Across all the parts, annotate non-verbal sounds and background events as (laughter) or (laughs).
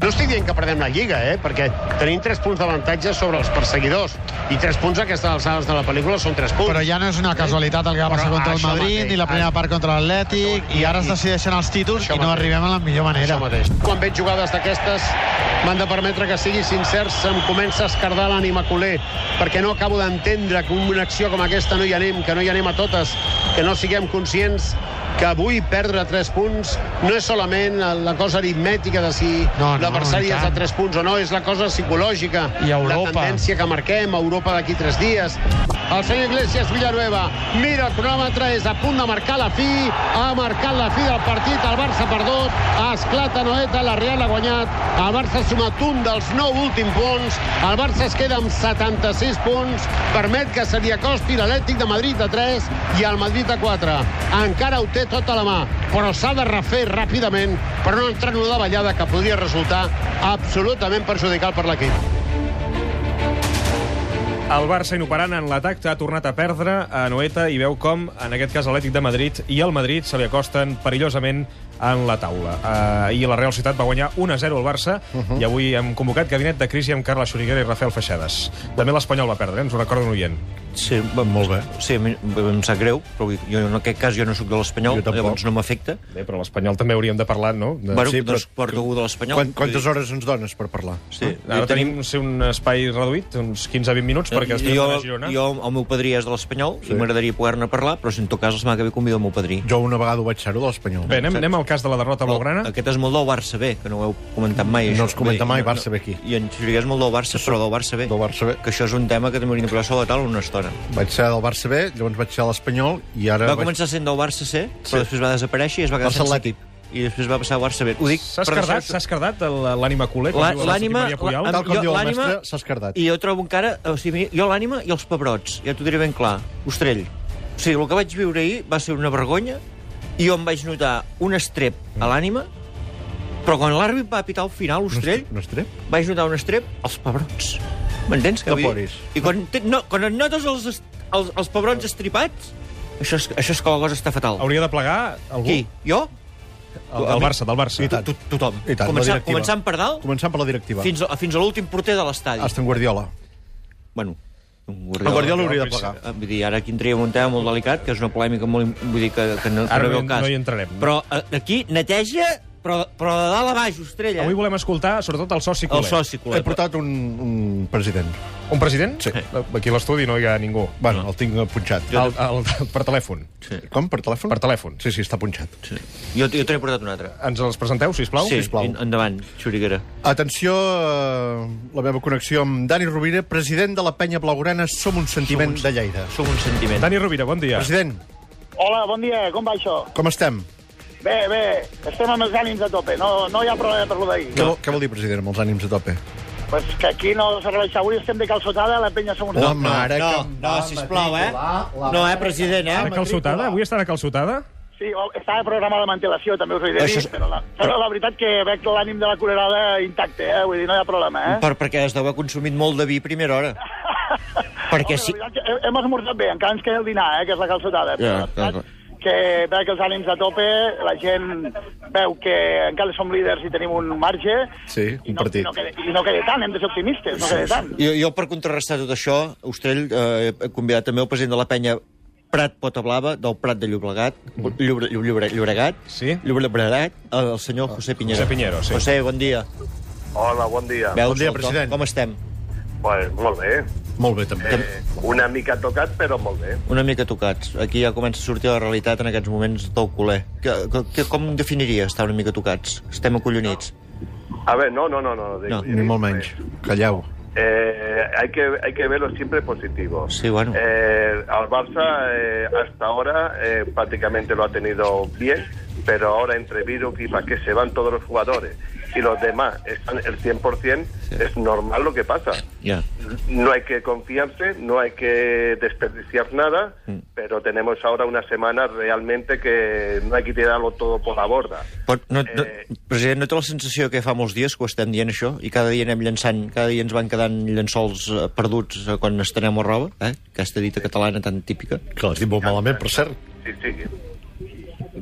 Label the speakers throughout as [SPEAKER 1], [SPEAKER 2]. [SPEAKER 1] No estic dient que perdem la Lliga, eh? perquè tenim 3 punts d'avantatge sobre els perseguidors, i 3 punts a aquestes alçades de la pel·lícula són 3 punts.
[SPEAKER 2] Però ja no és una casualitat el que va
[SPEAKER 1] Però
[SPEAKER 2] passar contra el
[SPEAKER 1] això
[SPEAKER 2] Madrid,
[SPEAKER 1] mateix,
[SPEAKER 2] ni la primera
[SPEAKER 1] això-
[SPEAKER 2] part contra l'Atlètic, i ara es decideixen els títols
[SPEAKER 1] Això
[SPEAKER 2] i no
[SPEAKER 1] mateix.
[SPEAKER 2] arribem a la millor manera.
[SPEAKER 1] Això mateix. Quan veig jugades d'aquestes, m'han de permetre que sigui sincers, em comença a escardar l'ànima culer, perquè no acabo d'entendre que una acció com aquesta no hi anem, que no hi anem a totes, que no siguem conscients que avui perdre 3 punts no és solament la cosa aritmètica de si
[SPEAKER 2] No, no,
[SPEAKER 1] l'adversari
[SPEAKER 2] i
[SPEAKER 1] és
[SPEAKER 2] tant.
[SPEAKER 1] a 3 punts o no, és la cosa psicològica,
[SPEAKER 3] I a Europa.
[SPEAKER 1] la tendència que marquem a Europa d'aquí 3 dies. El senyor Iglesias Villanueva mira el cronòmetre, és a punt de marcar la fi, ha marcat la fi del partit, el Barça ha perdut, ha esclat a Noeta, la Real ha guanyat, el Barça ha sumat un dels 9 últims punts, el Barça es queda amb 76 punts, permet que se li acosti l'Atlètic de Madrid a 3 i el Madrid a 4. Encara ho té tota la mà, però s'ha de refer ràpidament per no entrar en una davallada que podria resultar absolutament perjudicial per l'equip.
[SPEAKER 4] El Barça inoperant en l'atac ha tornat a perdre a Noeta i veu com, en aquest cas, l'Atlètic de Madrid i el Madrid se li acosten perillosament en la taula. Uh, I la Real Ciutat va guanyar 1-0 al Barça uh
[SPEAKER 5] Mhm.
[SPEAKER 4] -huh. i avui hem convocat gabinet de crisi amb Carla Xuriguera i Rafael Feixades. També l'Espanyol va perdre, eh? ens ho recorda un oient.
[SPEAKER 5] Sí, va, molt bé. Sí, a mi, em sap greu, però vull dir, jo en aquest cas jo no sóc de l'Espanyol,
[SPEAKER 6] Jo tampoc.
[SPEAKER 5] llavors no m'afecta.
[SPEAKER 4] Bé, però l'Espanyol també hauríem de parlar, no? De...
[SPEAKER 5] Bueno,
[SPEAKER 6] sí,
[SPEAKER 5] sí,
[SPEAKER 6] però-
[SPEAKER 5] doncs porto algú de l'Espanyol.
[SPEAKER 6] Quan, quantes hores ens dones per parlar?
[SPEAKER 5] Sí,
[SPEAKER 4] Ara tenim sí, un espai reduït, uns 15-20 minuts, perquè després
[SPEAKER 5] jo,
[SPEAKER 4] d'anar a Girona...
[SPEAKER 5] jo, el meu padrí és de l'Espanyol
[SPEAKER 6] Sí.
[SPEAKER 5] i m'agradaria poder-ne parlar, però si en tot cas els m'ha que bé convido el meu padrí.
[SPEAKER 6] Jo una vegada ho vaig ser-ho de l'Espanyol.
[SPEAKER 4] Bé, anem, anem al cas de la derrota
[SPEAKER 5] Oh,
[SPEAKER 4] blaugrana.
[SPEAKER 5] Aquest és molt del Barça B, que no ho heu comentat mai.
[SPEAKER 6] No
[SPEAKER 5] això.
[SPEAKER 6] es comenta
[SPEAKER 5] Vull dir,
[SPEAKER 6] mai Barça B aquí.
[SPEAKER 5] I en Xuriguer és molt del Barça, però del Barça B.
[SPEAKER 6] Del Barça B.
[SPEAKER 5] Que això és un tema que també hauríem de posar sobre la taula una estona.
[SPEAKER 6] Vaig ser del Barça B, llavors vaig ser a l'Espanyol i ara...
[SPEAKER 5] Va
[SPEAKER 6] vaig...
[SPEAKER 5] començar sent del Barça C,
[SPEAKER 6] Sí.
[SPEAKER 5] però després va desaparèixer i es va quedar
[SPEAKER 6] Barça
[SPEAKER 5] sense
[SPEAKER 6] Atlètic.
[SPEAKER 5] equip. I després va passar al Barça B. Ho dic...
[SPEAKER 4] S'ha
[SPEAKER 5] per
[SPEAKER 4] escardat,
[SPEAKER 5] deixar-
[SPEAKER 4] s'ha escardat el- l'ànima culer, com
[SPEAKER 5] La-
[SPEAKER 4] diu el Santi
[SPEAKER 5] l'ànima-
[SPEAKER 4] Maria Puyol.
[SPEAKER 5] la-
[SPEAKER 6] Tal com
[SPEAKER 5] Jo,
[SPEAKER 6] diu el
[SPEAKER 5] l'ànima-
[SPEAKER 6] mestre, s'ha escardat.
[SPEAKER 5] I jo trobo encara... O sigui, jo l'ànima i els pebrots, ja t'ho diré ben clar. Ostrell. O sigui, el que vaig viure ahir va ser una vergonya i jo em vaig notar un estrep a l'ànima, però quan l'àrbit va pitar al final, Ostrell,
[SPEAKER 6] No es trep?
[SPEAKER 5] vaig notar un estrep als pebrots. M'entens?
[SPEAKER 6] No
[SPEAKER 5] vull dir?
[SPEAKER 6] ploris.
[SPEAKER 5] I quan, te, no, quan et notes els, est- els, els pebrots estripats, això és, això és que la cosa està fatal.
[SPEAKER 4] Hauria de plegar algú.
[SPEAKER 5] Qui? Jo?
[SPEAKER 4] El, el Barça, del Barça.
[SPEAKER 6] I tant.
[SPEAKER 5] To- Tothom.
[SPEAKER 6] I tant, la
[SPEAKER 5] començant,
[SPEAKER 6] directiva.
[SPEAKER 5] començant per dalt
[SPEAKER 6] Començant per la directiva.
[SPEAKER 5] fins, a- fins a l'últim porter de l'estadi.
[SPEAKER 6] Hasta en Guardiola.
[SPEAKER 5] Bueno, un
[SPEAKER 6] El Guardiola
[SPEAKER 4] Guardiola
[SPEAKER 6] hauria de
[SPEAKER 4] hauria
[SPEAKER 6] plegar.
[SPEAKER 5] Eh, Vull dir, ara aquí entraríem en un tema molt delicat, que és una polèmica molt... im- Vull dir que, que no,
[SPEAKER 4] Ara
[SPEAKER 5] que
[SPEAKER 4] no hi-
[SPEAKER 5] no, ve el cas.
[SPEAKER 4] no hi entrarem.
[SPEAKER 5] Però eh, aquí neteja, però, però de dalt a baix, Ostrella.
[SPEAKER 4] Avui Eh, volem escoltar, sobretot, el soci culer.
[SPEAKER 5] Eh? El soci
[SPEAKER 6] He
[SPEAKER 5] culer.
[SPEAKER 6] portat un, un president.
[SPEAKER 4] Un president? Eh,
[SPEAKER 6] Sí.
[SPEAKER 4] Aquí a l'estudi no hi ha ningú.
[SPEAKER 6] Bueno, el tinc punxat.
[SPEAKER 4] El, el, per telèfon.
[SPEAKER 6] Com, per telèfon?
[SPEAKER 4] Per telèfon.
[SPEAKER 6] Sí, sí, està punxat. Sí.
[SPEAKER 5] Jo, jo t'he portat un altre.
[SPEAKER 4] Ens els presenteu, sisplau?
[SPEAKER 5] sí,
[SPEAKER 6] sisplau.
[SPEAKER 5] en- endavant, Xuriguera.
[SPEAKER 6] Atenció a la meva connexió amb Dani Rovira, president de la penya blaugrana Som un sentiment de Lleida.
[SPEAKER 5] Som un sentiment.
[SPEAKER 4] Dani Rovira, bon dia.
[SPEAKER 6] President,
[SPEAKER 7] Hola, bon dia, com va això?
[SPEAKER 6] com estem?
[SPEAKER 7] Bé, bé, estem amb els ànims a tope, no, no hi ha problema per lo d'ahir.
[SPEAKER 6] Què, vol- què vol dir, president, amb els ànims a tope?
[SPEAKER 7] Pues que aquí no serveix, avui estem de calçotada, la penya som uns...
[SPEAKER 6] La mare
[SPEAKER 5] no,
[SPEAKER 6] que...
[SPEAKER 5] no, sisplau, eh? No, eh, president,
[SPEAKER 4] A
[SPEAKER 5] eh?
[SPEAKER 4] calçotada? Avui estan a calçotada?
[SPEAKER 7] Sí, o- estava programada la mantelació, també us ho he de dir,
[SPEAKER 5] Això és-
[SPEAKER 7] però, la, però la veritat que veig l'ànim de la culerada intacte, eh? vull dir, no hi ha problema, eh?
[SPEAKER 5] Per, perquè es deu haver consumit molt de vi a primera hora. perquè si...
[SPEAKER 7] Home, la veritat que he- Hem esmorzat bé, encara ens queda el dinar, eh, que és la calçotada. però
[SPEAKER 5] Ja,
[SPEAKER 7] la
[SPEAKER 5] clar,
[SPEAKER 7] veritat que veig els ànims a tope, la gent veu que encara som líders i tenim un marge.
[SPEAKER 6] Sí,
[SPEAKER 7] i
[SPEAKER 6] un
[SPEAKER 7] no,
[SPEAKER 6] partit.
[SPEAKER 7] I no, queda, I no queda tant, hem de ser optimistes, no queda tant.
[SPEAKER 5] Jo, jo, per contrarrestar tot això, Ostrell, eh, he convidat també el president de la penya Prat Potablava, del Prat de Llobregat, Llobre, Llobre, Llobregat,
[SPEAKER 4] Sí.
[SPEAKER 5] Llobregat, el senyor José Piñera.
[SPEAKER 4] José Piñero, sí.
[SPEAKER 5] José, bon dia.
[SPEAKER 8] Hola, bon dia.
[SPEAKER 5] Veus,
[SPEAKER 6] dia,
[SPEAKER 5] el to?
[SPEAKER 6] president.
[SPEAKER 5] Com estem?
[SPEAKER 8] Pues, molt bé.
[SPEAKER 6] Molt bé, també.
[SPEAKER 8] Eh, una mica tocat, però molt bé.
[SPEAKER 5] Una mica tocats. Aquí ja comença a sortir la realitat en aquests moments del culer. Que, que, que, com definiria estar una mica tocats? Estem acollonits.
[SPEAKER 8] A ver, no, no, no. No, digo,
[SPEAKER 5] No,
[SPEAKER 8] digo,
[SPEAKER 6] Ni molt menys. Calleu.
[SPEAKER 8] Eh, hay, que, hay que verlo siempre positivo.
[SPEAKER 5] Sí, bueno.
[SPEAKER 8] Eh, al Barça eh, hasta ahora eh, prácticamente lo ha tenido bien, pero ahora entre Viruk y que se van todos los jugadores y los demás están el 100%, es normal lo que pasa.
[SPEAKER 5] Ja.
[SPEAKER 8] No hay que confiarse, no hay que desperdiciar nada, pero tenemos ahora una semana realmente que no hay que tirarlo todo por la borda.
[SPEAKER 5] Però no, no,
[SPEAKER 8] Eh.
[SPEAKER 5] president, no té la sensació que fa molts dies que ho estem dient, això? I cada dia anem llançant, cada dia ens van quedant llençols eh, perduts eh, quan estenem la roba, eh? Aquesta dita catalana tan típica. (laughs)
[SPEAKER 6] Que l'has dit molt malament, per cert.
[SPEAKER 8] Sí, sí.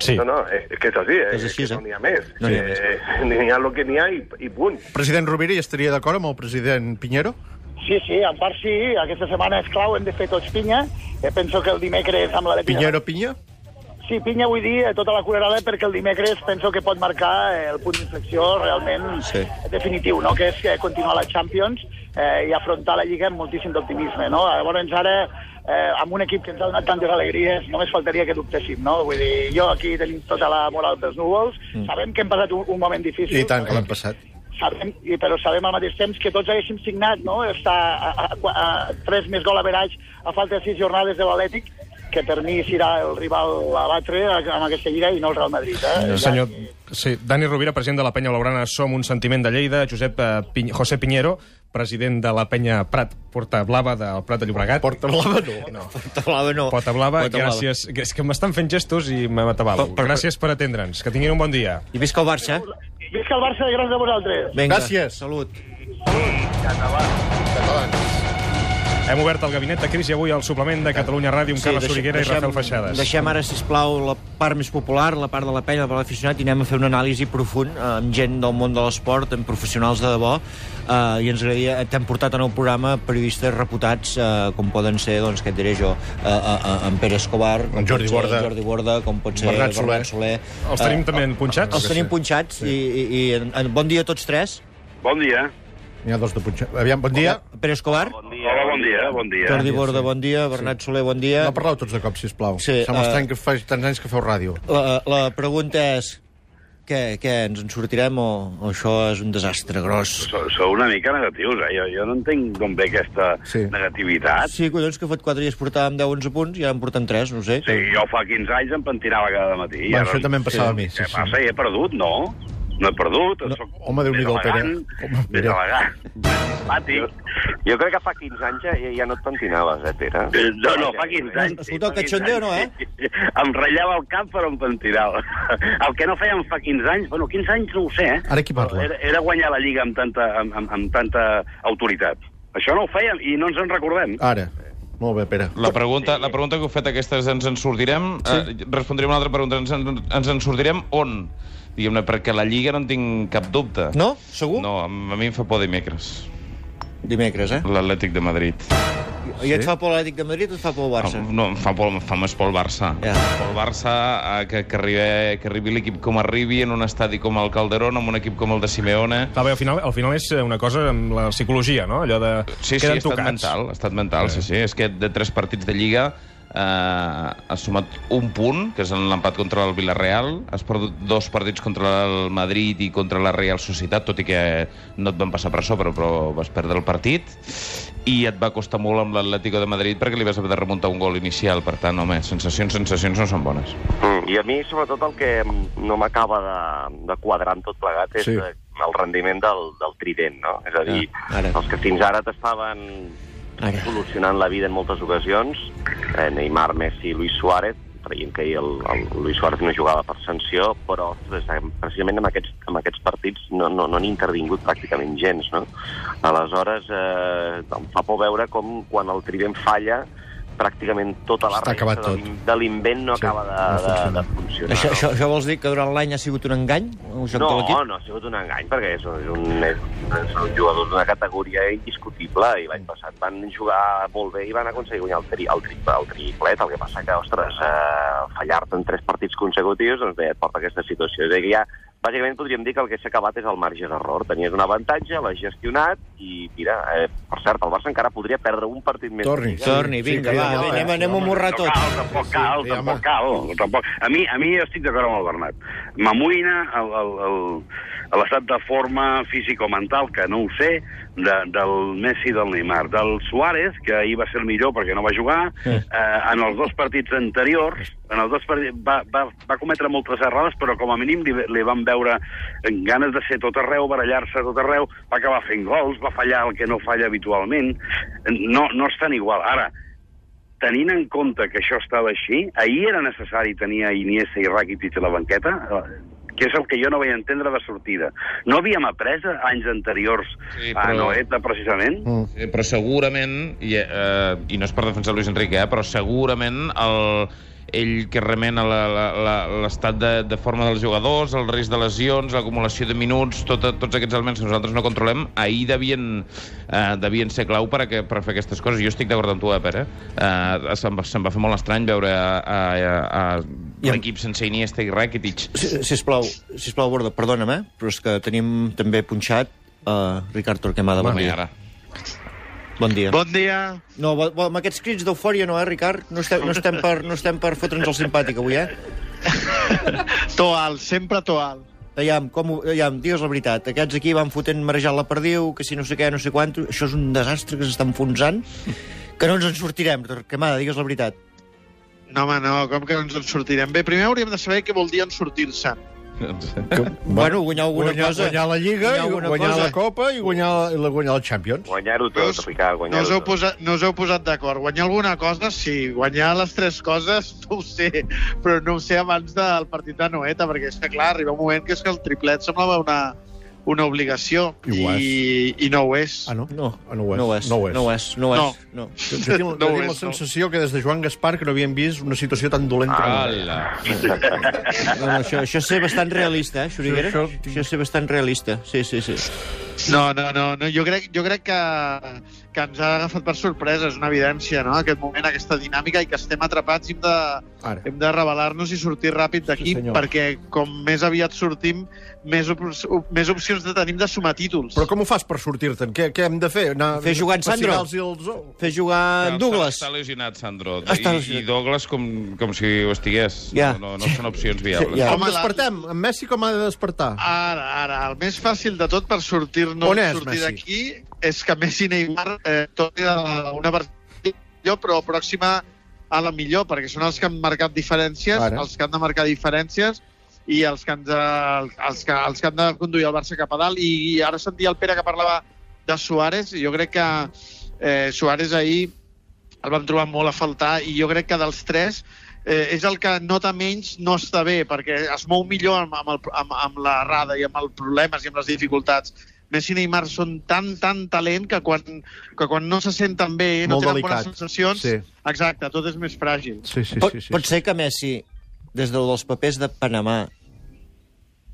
[SPEAKER 4] Sí.
[SPEAKER 8] No, no, és, és que és així, eh?
[SPEAKER 5] És així,
[SPEAKER 8] que
[SPEAKER 5] eh?
[SPEAKER 8] no n'hi ha més.
[SPEAKER 5] No n'hi ha més.
[SPEAKER 8] Eh, n'hi ha el que n'hi ha i, i punt.
[SPEAKER 6] President Rovira, hi estaria d'acord amb el president Pinheiro?
[SPEAKER 7] Sí, sí, en part sí, aquesta setmana és clau, hem de fer tots pinya. Eh, penso que el dimecres amb la de
[SPEAKER 6] Pinheiro Pinya?
[SPEAKER 7] Sí, pinya vull dir eh, tota la curarada perquè el dimecres penso que pot marcar eh, el punt d'inflexió realment
[SPEAKER 5] Sí.
[SPEAKER 7] sí. definitiu, no? que és eh, continuar la Champions eh, i afrontar la Lliga amb moltíssim d'optimisme. No? Llavors ara, eh, amb un equip que ens ha donat tantes alegries, només faltaria que dubtéssim. No? Vull dir, jo aquí tenim tota la moral pels núvols, mm. sabem que hem passat un, un moment difícil,
[SPEAKER 6] I tant, que l'han passat.
[SPEAKER 7] sabem, i- però sabem al mateix temps que tots haguéssim signat, no?, està a, a, a, a 3 més gol a veraig a falta de 6 jornades de l'Atlètic, que per mi serà el rival a batre amb aquesta lliga i no el Real Madrid, eh?
[SPEAKER 4] Senyor, sí, Dani Rovira, president de la penya Blaugrana Som un sentiment de Lleida, Josep eh, Pin José Piñero, president de la penya Prat Porta Blava del Prat de Llobregat.
[SPEAKER 6] Porta blava, no.
[SPEAKER 4] No.
[SPEAKER 5] Portablava no.
[SPEAKER 4] Porta Blava,
[SPEAKER 5] Portablava.
[SPEAKER 4] gràcies. És que m'estan fent gestos i m'he atabat.
[SPEAKER 5] Per- per-
[SPEAKER 4] Gràcies per atendre'ns. Que tinguin un bon dia.
[SPEAKER 5] I visca el Barça.
[SPEAKER 7] Visca el Barça de grans de vosaltres!
[SPEAKER 5] Vinga,
[SPEAKER 6] Gràcies.
[SPEAKER 5] Salut.
[SPEAKER 4] Hem obert el gabinet de crisi avui al suplement de Catalunya Ràdio amb Carles
[SPEAKER 5] deixem-
[SPEAKER 4] Soriguera i
[SPEAKER 5] deixem-
[SPEAKER 4] Rafael Feixades.
[SPEAKER 5] Deixem ara, si plau la part més popular, la part de la penya, la part de l'aficionat, i anem a fer un anàlisi profund eh, amb gent del món de l'esport, amb professionals de debò, eh, i ens agradaria... T'hem portat en el programa periodistes reputats, eh, com poden ser, doncs, què et diré jo, eh, eh, eh, en Pere Escobar, com
[SPEAKER 6] En Jordi
[SPEAKER 5] pot ser
[SPEAKER 6] Borda.
[SPEAKER 5] Jordi Borda, com pot ser
[SPEAKER 6] Bernat Soler.
[SPEAKER 5] Soler.
[SPEAKER 4] Els tenim
[SPEAKER 5] Eh,
[SPEAKER 4] també punxats?
[SPEAKER 5] Els tenim punxats, i, i, i en, en, bon dia a tots tres.
[SPEAKER 8] Bon dia.
[SPEAKER 6] N'hi ha dos de punxa. Aviam, bon dia.
[SPEAKER 5] Pere Escobar,
[SPEAKER 8] Hola, bon dia, bon dia.
[SPEAKER 5] Jordi Borda, bon dia, Bernat Soler, bon dia.
[SPEAKER 6] No parleu tots de cop, sisplau.
[SPEAKER 5] Eh, Sí,
[SPEAKER 6] Sí, Sembla
[SPEAKER 5] eh,
[SPEAKER 6] estrany que fa tants anys que feu ràdio.
[SPEAKER 5] La, la pregunta és... Què, què, ens en sortirem o, o això és un desastre gros?
[SPEAKER 3] Sou, sou una mica negatius, eh? Jo, jo no entenc d'on ve aquesta sí.
[SPEAKER 6] Sí.
[SPEAKER 3] negativitat.
[SPEAKER 5] Sí, collons, que fot 4 dies portàvem 10-11 punts i ara en portem 3, no ho sé.
[SPEAKER 3] Sí, jo fa 15 anys em pentinava cada matí.
[SPEAKER 6] Bueno, això també em passava a mi, sí,
[SPEAKER 3] Què
[SPEAKER 6] sí.
[SPEAKER 3] passa? He perdut, no? No he perdut. No. Soc
[SPEAKER 6] Home, Déu-n'hi-do,
[SPEAKER 3] més
[SPEAKER 6] Pere.
[SPEAKER 3] elegant,
[SPEAKER 6] Home,
[SPEAKER 3] Més
[SPEAKER 6] mira.
[SPEAKER 3] elegant, més
[SPEAKER 6] (laughs)
[SPEAKER 3] simpàtic.
[SPEAKER 9] Jo crec que fa 15 anys ja, ja no et pentinaves, eh, Pere?
[SPEAKER 3] Eh, No, no, fa 15 anys.
[SPEAKER 5] Escolta, el
[SPEAKER 3] fa 15
[SPEAKER 5] cachondeo no, eh?
[SPEAKER 3] anys. Em ratllava el cap, però em pentinava. (laughs) El que no fèiem fa 15 anys, bueno, 15 anys no ho sé, eh?
[SPEAKER 6] Ara qui parla?
[SPEAKER 3] Però Era, era guanyar la Lliga amb tanta, amb, amb, amb tanta autoritat. Això no ho fèiem i no ens en recordem.
[SPEAKER 6] Ara. Molt bé, Pere.
[SPEAKER 10] La pregunta, la pregunta que heu fet aquesta és ens en sortirem? Sí. Eh, respondré una altra pregunta. Ens, en- ens en sortirem on? Diguem-ne, perquè la Lliga no en tinc cap dubte.
[SPEAKER 5] No? Segur?
[SPEAKER 10] No, a mi em fa por dimecres.
[SPEAKER 5] Dimecres, eh?
[SPEAKER 10] L'Atlètic de Madrid.
[SPEAKER 5] I et fa por l'Atlètic de Madrid o et fa por el Barça?
[SPEAKER 10] No, em fa, por, em fa més por el Barça.
[SPEAKER 5] Ja.
[SPEAKER 10] Por el Barça, eh, que, que arribi, que arribi l'equip com arribi, en un estadi com el Calderón, amb un equip com el de Simeone...
[SPEAKER 4] Clar, bé, al final, al final és eh, una cosa amb la psicologia, no? Allò de...
[SPEAKER 10] Sí, sí, ha
[SPEAKER 4] queden
[SPEAKER 10] estat
[SPEAKER 4] tocats.
[SPEAKER 10] mental, ha estat mental, sí, sí. És que de tres partits de Lliga eh, has sumat un punt, que és en l'empat contra el Villarreal, has perdut dos partits contra el Madrid i contra la Real Societat, tot i que no et van passar per sobre, però vas perdre el partit, i et va costar molt amb l'Atlético de Madrid perquè li vas haver de remuntar un gol inicial. Per tant, home, sensacions, sensacions no són bones.
[SPEAKER 9] Mm, I a mi, sobretot, el que no m'acaba de, de quadrar amb tot plegat és
[SPEAKER 6] Sí.
[SPEAKER 9] sí. el rendiment del, del trident, no? És a dir,
[SPEAKER 5] Ah, ara.
[SPEAKER 9] els que fins ara t'estaven
[SPEAKER 5] Ara.
[SPEAKER 9] solucionant la vida en moltes ocasions, eh, Neymar, Messi, Luis Suárez, creiem que ahir el, el Luis Suárez no jugava per sanció, però ostres, en- precisament en aquests, en aquests partits no no, no han intervingut pràcticament gens. No? Aleshores, eh, em fa por veure com quan el trident falla pràcticament tota la
[SPEAKER 6] Està acabat
[SPEAKER 9] resta de
[SPEAKER 6] tot.
[SPEAKER 9] l'in- de l'invent no
[SPEAKER 6] Sí,
[SPEAKER 9] acaba de,
[SPEAKER 6] no
[SPEAKER 9] de,
[SPEAKER 6] funciona.
[SPEAKER 9] de funcionar. no?
[SPEAKER 5] Això, això, això vols dir que durant l'any ha sigut un engany? El joc de
[SPEAKER 9] No,
[SPEAKER 5] l'equip?
[SPEAKER 9] no ha sigut un engany, perquè és un, és un, és un, és un jugador d'una categoria indiscutible i l'any passat van jugar molt bé i van aconseguir guanyar el, tri, el, tri, el triplet, el que passa que, ostres, eh, fallar-te en tres partits consecutius doncs bé, et porta a aquesta situació. És a dir, que ja, bàsicament podríem dir que el que s'ha acabat és el marge d'error. Tenies un avantatge, l'has gestionat i, mira, eh, per cert, el Barça encara podria perdre un partit més.
[SPEAKER 6] Torni.
[SPEAKER 5] Torni, vinga,
[SPEAKER 6] Sí,
[SPEAKER 5] va,
[SPEAKER 6] crida,
[SPEAKER 5] anem,
[SPEAKER 6] eh?
[SPEAKER 5] anem a morrar
[SPEAKER 3] No
[SPEAKER 5] tot.
[SPEAKER 3] cal, tampoc cal,
[SPEAKER 6] Sí,
[SPEAKER 3] sí, tampoc
[SPEAKER 6] home.
[SPEAKER 3] cal. Tampoc. A, mi, a mi estic d'acord amb el Bernat. M'amoïna el- el- el- l'estat de forma físico-mental, que no ho sé, de, del Messi i del Neymar. Del Suárez, que ahir va ser el millor perquè no va jugar, eh, en els dos partits anteriors en els dos partits va, va, va cometre moltes errades, però com a mínim li, li van veure ganes de ser tot arreu, barallar-se a tot arreu, va acabar fent gols, va fallar el que no falla habitualment. No, no estan igual. Ara, tenint en compte que això estava així, ahir era necessari tenir a Iniesta i Rakitic a la banqueta, eh, que és el que jo no vaig entendre de sortida. No havíem après anys anteriors
[SPEAKER 10] Sí,
[SPEAKER 3] sí,
[SPEAKER 10] però-
[SPEAKER 3] però... a Noeta, precisament?
[SPEAKER 6] Mm.
[SPEAKER 10] Sí, però eh, segurament, i, eh, i no és per defensar Luis Enrique, eh, però segurament el, ell que remena la- la- la- l'estat de, de forma dels jugadors, el risc de lesions, l'acumulació de minuts, tot, tots aquests elements que nosaltres no controlem, ahir devien, eh, devien ser clau per, a que, per fer aquestes coses. Jo estic d'acord amb tu, eh, Pere. Eh, se'm, va- se'm va fer molt estrany veure a, a, a, a l'equip sense Iniesta i Rakitic.
[SPEAKER 5] Si- Sisplau, sisplau, Borda, perdona'm, eh? però és que tenim també punxat uh, Ricard Torquemada. Bon,
[SPEAKER 10] Bueno, i
[SPEAKER 5] dia.
[SPEAKER 10] ara?
[SPEAKER 5] Bon dia.
[SPEAKER 11] Bon dia.
[SPEAKER 5] No, bo, bo, amb aquests crits d'eufòria no, eh, Ricard? No estem, no estem per, no estem per fotre'ns el simpàtic avui, eh?
[SPEAKER 11] Toal, sempre toal.
[SPEAKER 5] Aviam, com, ho- aviam, digues la veritat. Aquests aquí van fotent marejant la perdiu, que si no sé què, no sé quant... Això és un desastre que s'està enfonsant, que no ens en sortirem, Torquemada, digues la veritat.
[SPEAKER 11] No, home, no, com que no ens en sortirem? Bé, primer hauríem de saber què vol dir en sortir-se.
[SPEAKER 5] Bueno, guanyar alguna
[SPEAKER 6] guanyar,
[SPEAKER 5] cosa.
[SPEAKER 6] Guanyar la Lliga,
[SPEAKER 5] Guanyar
[SPEAKER 6] guanyar,
[SPEAKER 5] alguna
[SPEAKER 6] guanyar
[SPEAKER 5] cosa.
[SPEAKER 6] la Copa i guanyar, i la- guanyar la Champions.
[SPEAKER 9] Guanyar-ho tot,
[SPEAKER 11] No
[SPEAKER 9] Ricard,
[SPEAKER 11] us
[SPEAKER 9] guanyar-ho
[SPEAKER 11] heu
[SPEAKER 9] tot.
[SPEAKER 11] posat, no us heu posat d'acord. Guanyar alguna cosa, sí. Guanyar les tres coses, (laughs) no ho sé. Però no ho sé abans del partit de Noeta, perquè és que, clar, arriba un moment que és que el triplet semblava una, una obligació.
[SPEAKER 6] I ho
[SPEAKER 11] I, I no ho és.
[SPEAKER 5] (laughs)
[SPEAKER 6] Ah, no?
[SPEAKER 5] No,
[SPEAKER 6] Ah, no ho és.
[SPEAKER 5] no ho és,
[SPEAKER 6] No ho és.
[SPEAKER 5] no ho és, no ho és. No.
[SPEAKER 6] Jo, jo tinc,
[SPEAKER 11] No
[SPEAKER 6] no
[SPEAKER 11] ho
[SPEAKER 6] tinc la
[SPEAKER 11] és, no.
[SPEAKER 6] sensació que des de Joan Gaspar que no havíem vist una situació tan dolenta.
[SPEAKER 10] Ala.
[SPEAKER 5] No, no, això, això és ser bastant realista, eh, Xuriguera? Això, això és ser bastant realista, sí, sí, sí.
[SPEAKER 11] No, no, no, no. Jo, crec, jo crec que, que ens ha agafat per sorpresa, és una evidència, no?, aquest moment, aquesta dinàmica, i que estem atrapats i hem de,
[SPEAKER 6] Ara.
[SPEAKER 11] hem de revelar-nos i sortir ràpid d'aquí,
[SPEAKER 6] senyor.
[SPEAKER 11] perquè com més aviat sortim, més, op més opcions de tenim de sumar títols.
[SPEAKER 6] Però com ho fas per sortir-te'n? Què, què hem de fer? Anar,
[SPEAKER 5] Fer jugar en Sandro.
[SPEAKER 6] pessigar-los Els... ous?
[SPEAKER 5] Fer jugar en Douglas.
[SPEAKER 10] Està lesionat, Sandro.
[SPEAKER 5] Està
[SPEAKER 10] I,
[SPEAKER 5] lesionat.
[SPEAKER 10] I Douglas com, com si ho estigués.
[SPEAKER 5] Ja.
[SPEAKER 10] No, no, no són opcions viables.
[SPEAKER 5] Ja.
[SPEAKER 6] Com
[SPEAKER 11] Home, la-
[SPEAKER 6] despertem? En Messi com ha de despertar?
[SPEAKER 11] Ara, ara, el més fàcil de tot per sortir-nos
[SPEAKER 6] On és
[SPEAKER 11] sortir
[SPEAKER 6] Messi?
[SPEAKER 11] d'aquí és que Messi i Neymar eh, tornin a una versió millor, però pròxima a la millor, perquè són els que han marcat diferències,
[SPEAKER 6] Ara.
[SPEAKER 11] Ara. els que han de marcar diferències i els que, han de, els, que, els que han de conduir el Barça cap a dalt. I, ara sentia el Pere que parlava de Suárez, i jo crec que eh, Suárez ahir el vam trobar molt a faltar i jo crec que dels tres eh, és el que nota menys no està bé, perquè es mou millor amb, amb, el, amb, amb la rada i amb els problemes i amb les dificultats. Messi i Neymar són tan, tan talent que quan, que quan no se senten bé, no
[SPEAKER 6] Molt
[SPEAKER 11] tenen
[SPEAKER 6] delicat.
[SPEAKER 11] bones sensacions,
[SPEAKER 6] Sí.
[SPEAKER 11] exacte, tot és més fràgil.
[SPEAKER 6] Sí, sí,
[SPEAKER 5] Pot, pot ser que Messi, des del- dels papers de Panamà,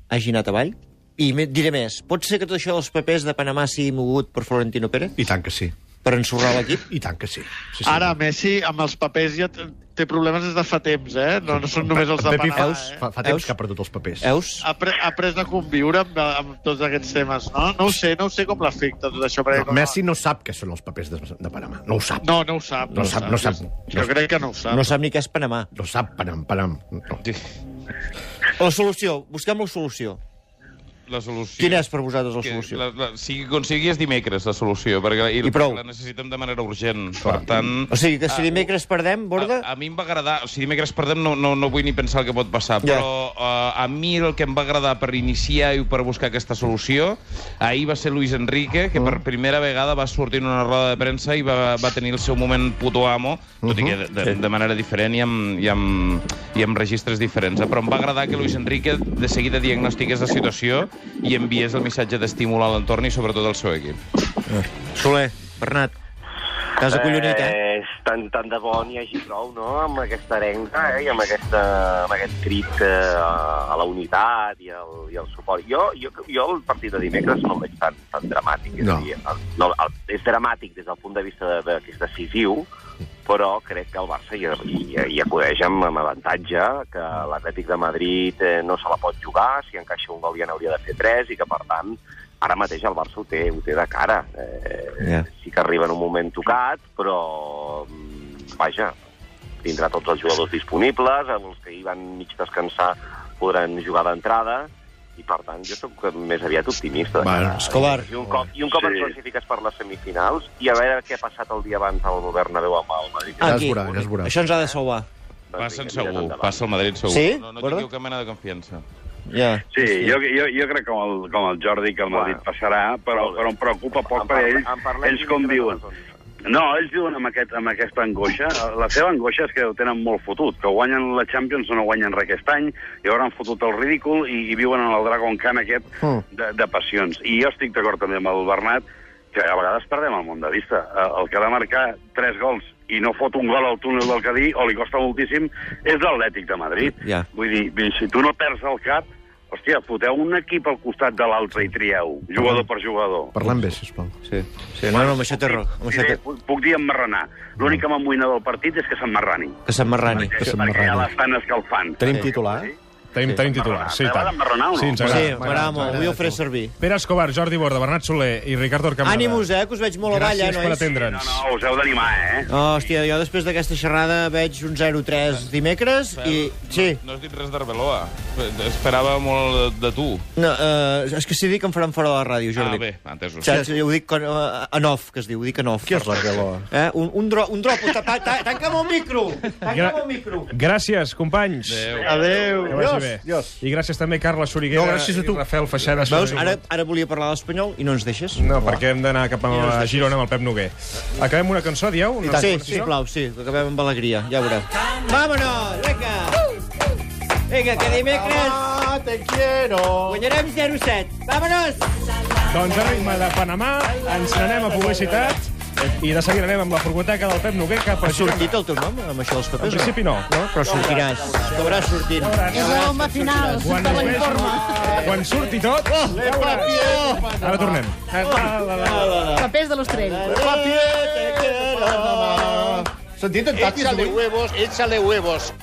[SPEAKER 5] hagi anat avall? I me- diré més, pot ser que tot això dels papers de Panamà sigui mogut per Florentino Pérez?
[SPEAKER 6] I tant que sí.
[SPEAKER 5] Per ensorrar l'equip?
[SPEAKER 6] I tant que sí. sí, sí.
[SPEAKER 11] Ara, Messi, amb els papers ja t- té problemes des de fa temps, eh? No, no són només els de
[SPEAKER 6] Pepi
[SPEAKER 11] Panamà,
[SPEAKER 6] Fels
[SPEAKER 11] eh?
[SPEAKER 6] fa, fa
[SPEAKER 5] Veus?
[SPEAKER 6] temps que ha perdut els papers.
[SPEAKER 5] Eus?
[SPEAKER 11] Ha, pre ha après de conviure amb, amb tots aquests temes, no? No ho sé, no ho sé com l'afecta tot això. perquè
[SPEAKER 6] No,
[SPEAKER 11] com-
[SPEAKER 6] Messi no sap què són els papers de, de Panamà. No ho sap.
[SPEAKER 11] No, no ho sap.
[SPEAKER 6] No sap, no sap.
[SPEAKER 11] Jo crec que no ho sap.
[SPEAKER 5] No sap ni què és Panamà.
[SPEAKER 6] No sap, Panam, Panam. No.
[SPEAKER 5] La solució, busquem la solució.
[SPEAKER 10] La solució...
[SPEAKER 5] Quina és per vosaltres la
[SPEAKER 10] Que
[SPEAKER 5] solució?
[SPEAKER 10] La, la, si aconsigui és dimecres la solució, perquè i,
[SPEAKER 5] I prou.
[SPEAKER 10] la necessitem de manera urgent. Per tant,
[SPEAKER 5] O sigui,
[SPEAKER 10] Ah,
[SPEAKER 5] que si dimecres perdem, Borda...
[SPEAKER 10] a, a mi em va agradar, o sigui, dimecres perdem, no, no, no vull ni pensar el que pot passar,
[SPEAKER 5] Ja.
[SPEAKER 10] yeah. però uh, a mi el que em va agradar per iniciar i per buscar aquesta solució, ahir va ser Luis Enrique, que
[SPEAKER 5] Mm.
[SPEAKER 10] per primera vegada va sortir en una roda de premsa i va, va tenir el seu moment puto amo, tot i que de,
[SPEAKER 5] Mm-hmm.
[SPEAKER 10] de, de manera diferent i amb, i, amb, i amb registres diferents. eh? Però em va agradar que Luis Enrique de seguida diagnostiqués la situació i enviés el missatge d'estímul a l'entorn i sobretot al seu equip. ah.
[SPEAKER 5] Soler, Bernat, t'has acollonit, eh?
[SPEAKER 9] Eh, és tant, tant de bo n'hi hagi prou, no?, amb aquesta arenga eh? i amb, aquesta, amb aquest crit eh, a la unitat i el, i el suport. Jo, jo, jo el partit de dimecres no el veig tan, tan dramàtic. És,
[SPEAKER 6] No.
[SPEAKER 9] a dir, el, no, el, és dramàtic des del punt de vista de, de, que és decisiu, però crec que el Barça hi, hi, hi acudeix amb, amb avantatge, que l'Atlètic de Madrid eh, no se la pot jugar, si encaixa un gol ja n'hauria de fer tres, i que, per tant, ara mateix el Barça ho té, ho té de cara. Eh,
[SPEAKER 5] Ja.
[SPEAKER 9] sí que arriba en un moment tocat, però mm, vaja, tindrà tots els jugadors disponibles, amb els que hi van mig descansar podran jugar d'entrada, i per tant jo soc més aviat optimista.
[SPEAKER 6] Bueno,
[SPEAKER 5] Escobar.
[SPEAKER 9] I un cop, i un cop sí. ens classifiques per les semifinals, i a veure què ha passat el dia abans al Bernabéu amb el Madrid.
[SPEAKER 6] Ja
[SPEAKER 5] Ah,
[SPEAKER 6] es
[SPEAKER 5] aquí.
[SPEAKER 6] veurà, ja es veurà.
[SPEAKER 5] Això ens ha de salvar.
[SPEAKER 9] Doncs
[SPEAKER 10] Passen
[SPEAKER 9] vinga,
[SPEAKER 10] segur,
[SPEAKER 9] tira endavant.
[SPEAKER 10] passa el Madrid segur.
[SPEAKER 5] Sí?
[SPEAKER 10] No, no
[SPEAKER 5] Verdad?
[SPEAKER 10] tingueu cap mena de confiança.
[SPEAKER 5] Ja.
[SPEAKER 3] Sí, jo, jo, jo crec que com el, com el Jordi que el Madrid passarà, però, però em preocupa poc
[SPEAKER 9] En
[SPEAKER 3] per
[SPEAKER 9] parla- doncs.
[SPEAKER 3] ells,
[SPEAKER 9] en parlem
[SPEAKER 3] ells com
[SPEAKER 9] dimecres a
[SPEAKER 3] diuen.
[SPEAKER 9] les 11.
[SPEAKER 3] No, ells diuen amb, aquest, amb aquesta angoixa, la seva angoixa és que ho tenen molt fotut, que guanyen la Champions o no guanyen res aquest any, i hauran fotut el ridícul i, i viuen en el Dragon Khan aquest de, de passions. I jo estic d'acord també amb el Bernat, que a vegades perdem el món de vista. Eh, El que ha de marcar tres gols i no fot un gol al túnel del Cadí, o li costa moltíssim, és l'Atlètic de Madrid.
[SPEAKER 5] Ja.
[SPEAKER 3] Vull dir, vull dir, si tu no perds el cap, hòstia, foteu un equip al costat de l'altre i trieu, jugador per jugador.
[SPEAKER 6] Parlem bé, sisplau.
[SPEAKER 5] Sí, sí no, no, amb això té raó. Amb això té...
[SPEAKER 3] Diré, puc, puc dir emmarranar. L'únic que m'amoïna del partit és que s'emmarrani.
[SPEAKER 5] Que s'emmarrani.
[SPEAKER 3] Que perquè ja l'estan escalfant.
[SPEAKER 6] Tenim titular? eh?
[SPEAKER 4] Tenim, tenim titular, sí, i tant.
[SPEAKER 3] T'agrada o no?
[SPEAKER 4] Sí, ens
[SPEAKER 5] Sí,
[SPEAKER 4] agrada.
[SPEAKER 5] m'agrada molt. Avui el faré servir.
[SPEAKER 4] Pere Escobar, Jordi Borda, Bernat Soler i Ricardo Arcamada.
[SPEAKER 5] Ànimus, eh, que us veig molt avall, eh,
[SPEAKER 4] Gràcies per
[SPEAKER 5] nois?
[SPEAKER 3] No,
[SPEAKER 4] atendre'ns.
[SPEAKER 3] no, us heu d'animar, eh?
[SPEAKER 5] Oh, hòstia, jo després d'aquesta xerrada veig un 0-3 dimecres i... Sí,
[SPEAKER 12] No has dit res d'Arbeloa. Esperava molt de tu.
[SPEAKER 5] no, eh, és que si dic em faran fora de la ràdio,
[SPEAKER 10] Ah,
[SPEAKER 5] Jordi.
[SPEAKER 10] bé, entesos.
[SPEAKER 5] Saps? Jo ho dic con, uh, en off, que es diu, ho dic en off.
[SPEAKER 6] Qui és l'Arbeloa?
[SPEAKER 5] Eh? Un, un, dro, un dropo, ta, ta, ta, tanca'm el micro! Tanca'm el micro!
[SPEAKER 4] Gràcies, companys. Adéu.
[SPEAKER 11] Adéu.
[SPEAKER 4] Que vagi bé. I gràcies també, Carla Soriguera
[SPEAKER 6] No, gràcies a tu.
[SPEAKER 4] i Rafael Feixades.
[SPEAKER 5] Veus, ara, ara volia parlar d'espanyol i no ens deixes.
[SPEAKER 4] No, perquè hem d'anar cap a Girona amb el Pep Noguer. Acabem una cançó, dieu? Una
[SPEAKER 5] Sí,
[SPEAKER 4] recomanació?
[SPEAKER 5] sisplau, sí, que acabem amb alegria, ja ho veurà. Vámonos, vinga! Vinga, que dimecres
[SPEAKER 6] Ah, te quiero.
[SPEAKER 5] guanyarem 0-7. Vámonos!
[SPEAKER 4] Doncs a ritme de Panamà, ens n'anem a publicitat i de seguida anem amb la furgoteca del Pep Noguer cap a
[SPEAKER 5] Ha
[SPEAKER 4] Girona.
[SPEAKER 5] sortit el teu nom, amb això dels
[SPEAKER 4] En
[SPEAKER 5] papers? o
[SPEAKER 4] principi no.
[SPEAKER 5] No, però sortiràs. Acabaràs sortint.
[SPEAKER 4] És
[SPEAKER 13] Home, final,
[SPEAKER 4] Quan,
[SPEAKER 13] de
[SPEAKER 4] es vegi-
[SPEAKER 13] l'informe.
[SPEAKER 4] quan surti tot... ja ho veuràs. Ara tornem.
[SPEAKER 13] Papers de l'Ostrell.
[SPEAKER 6] Sentit en Tati,
[SPEAKER 2] huevos, échale huevos.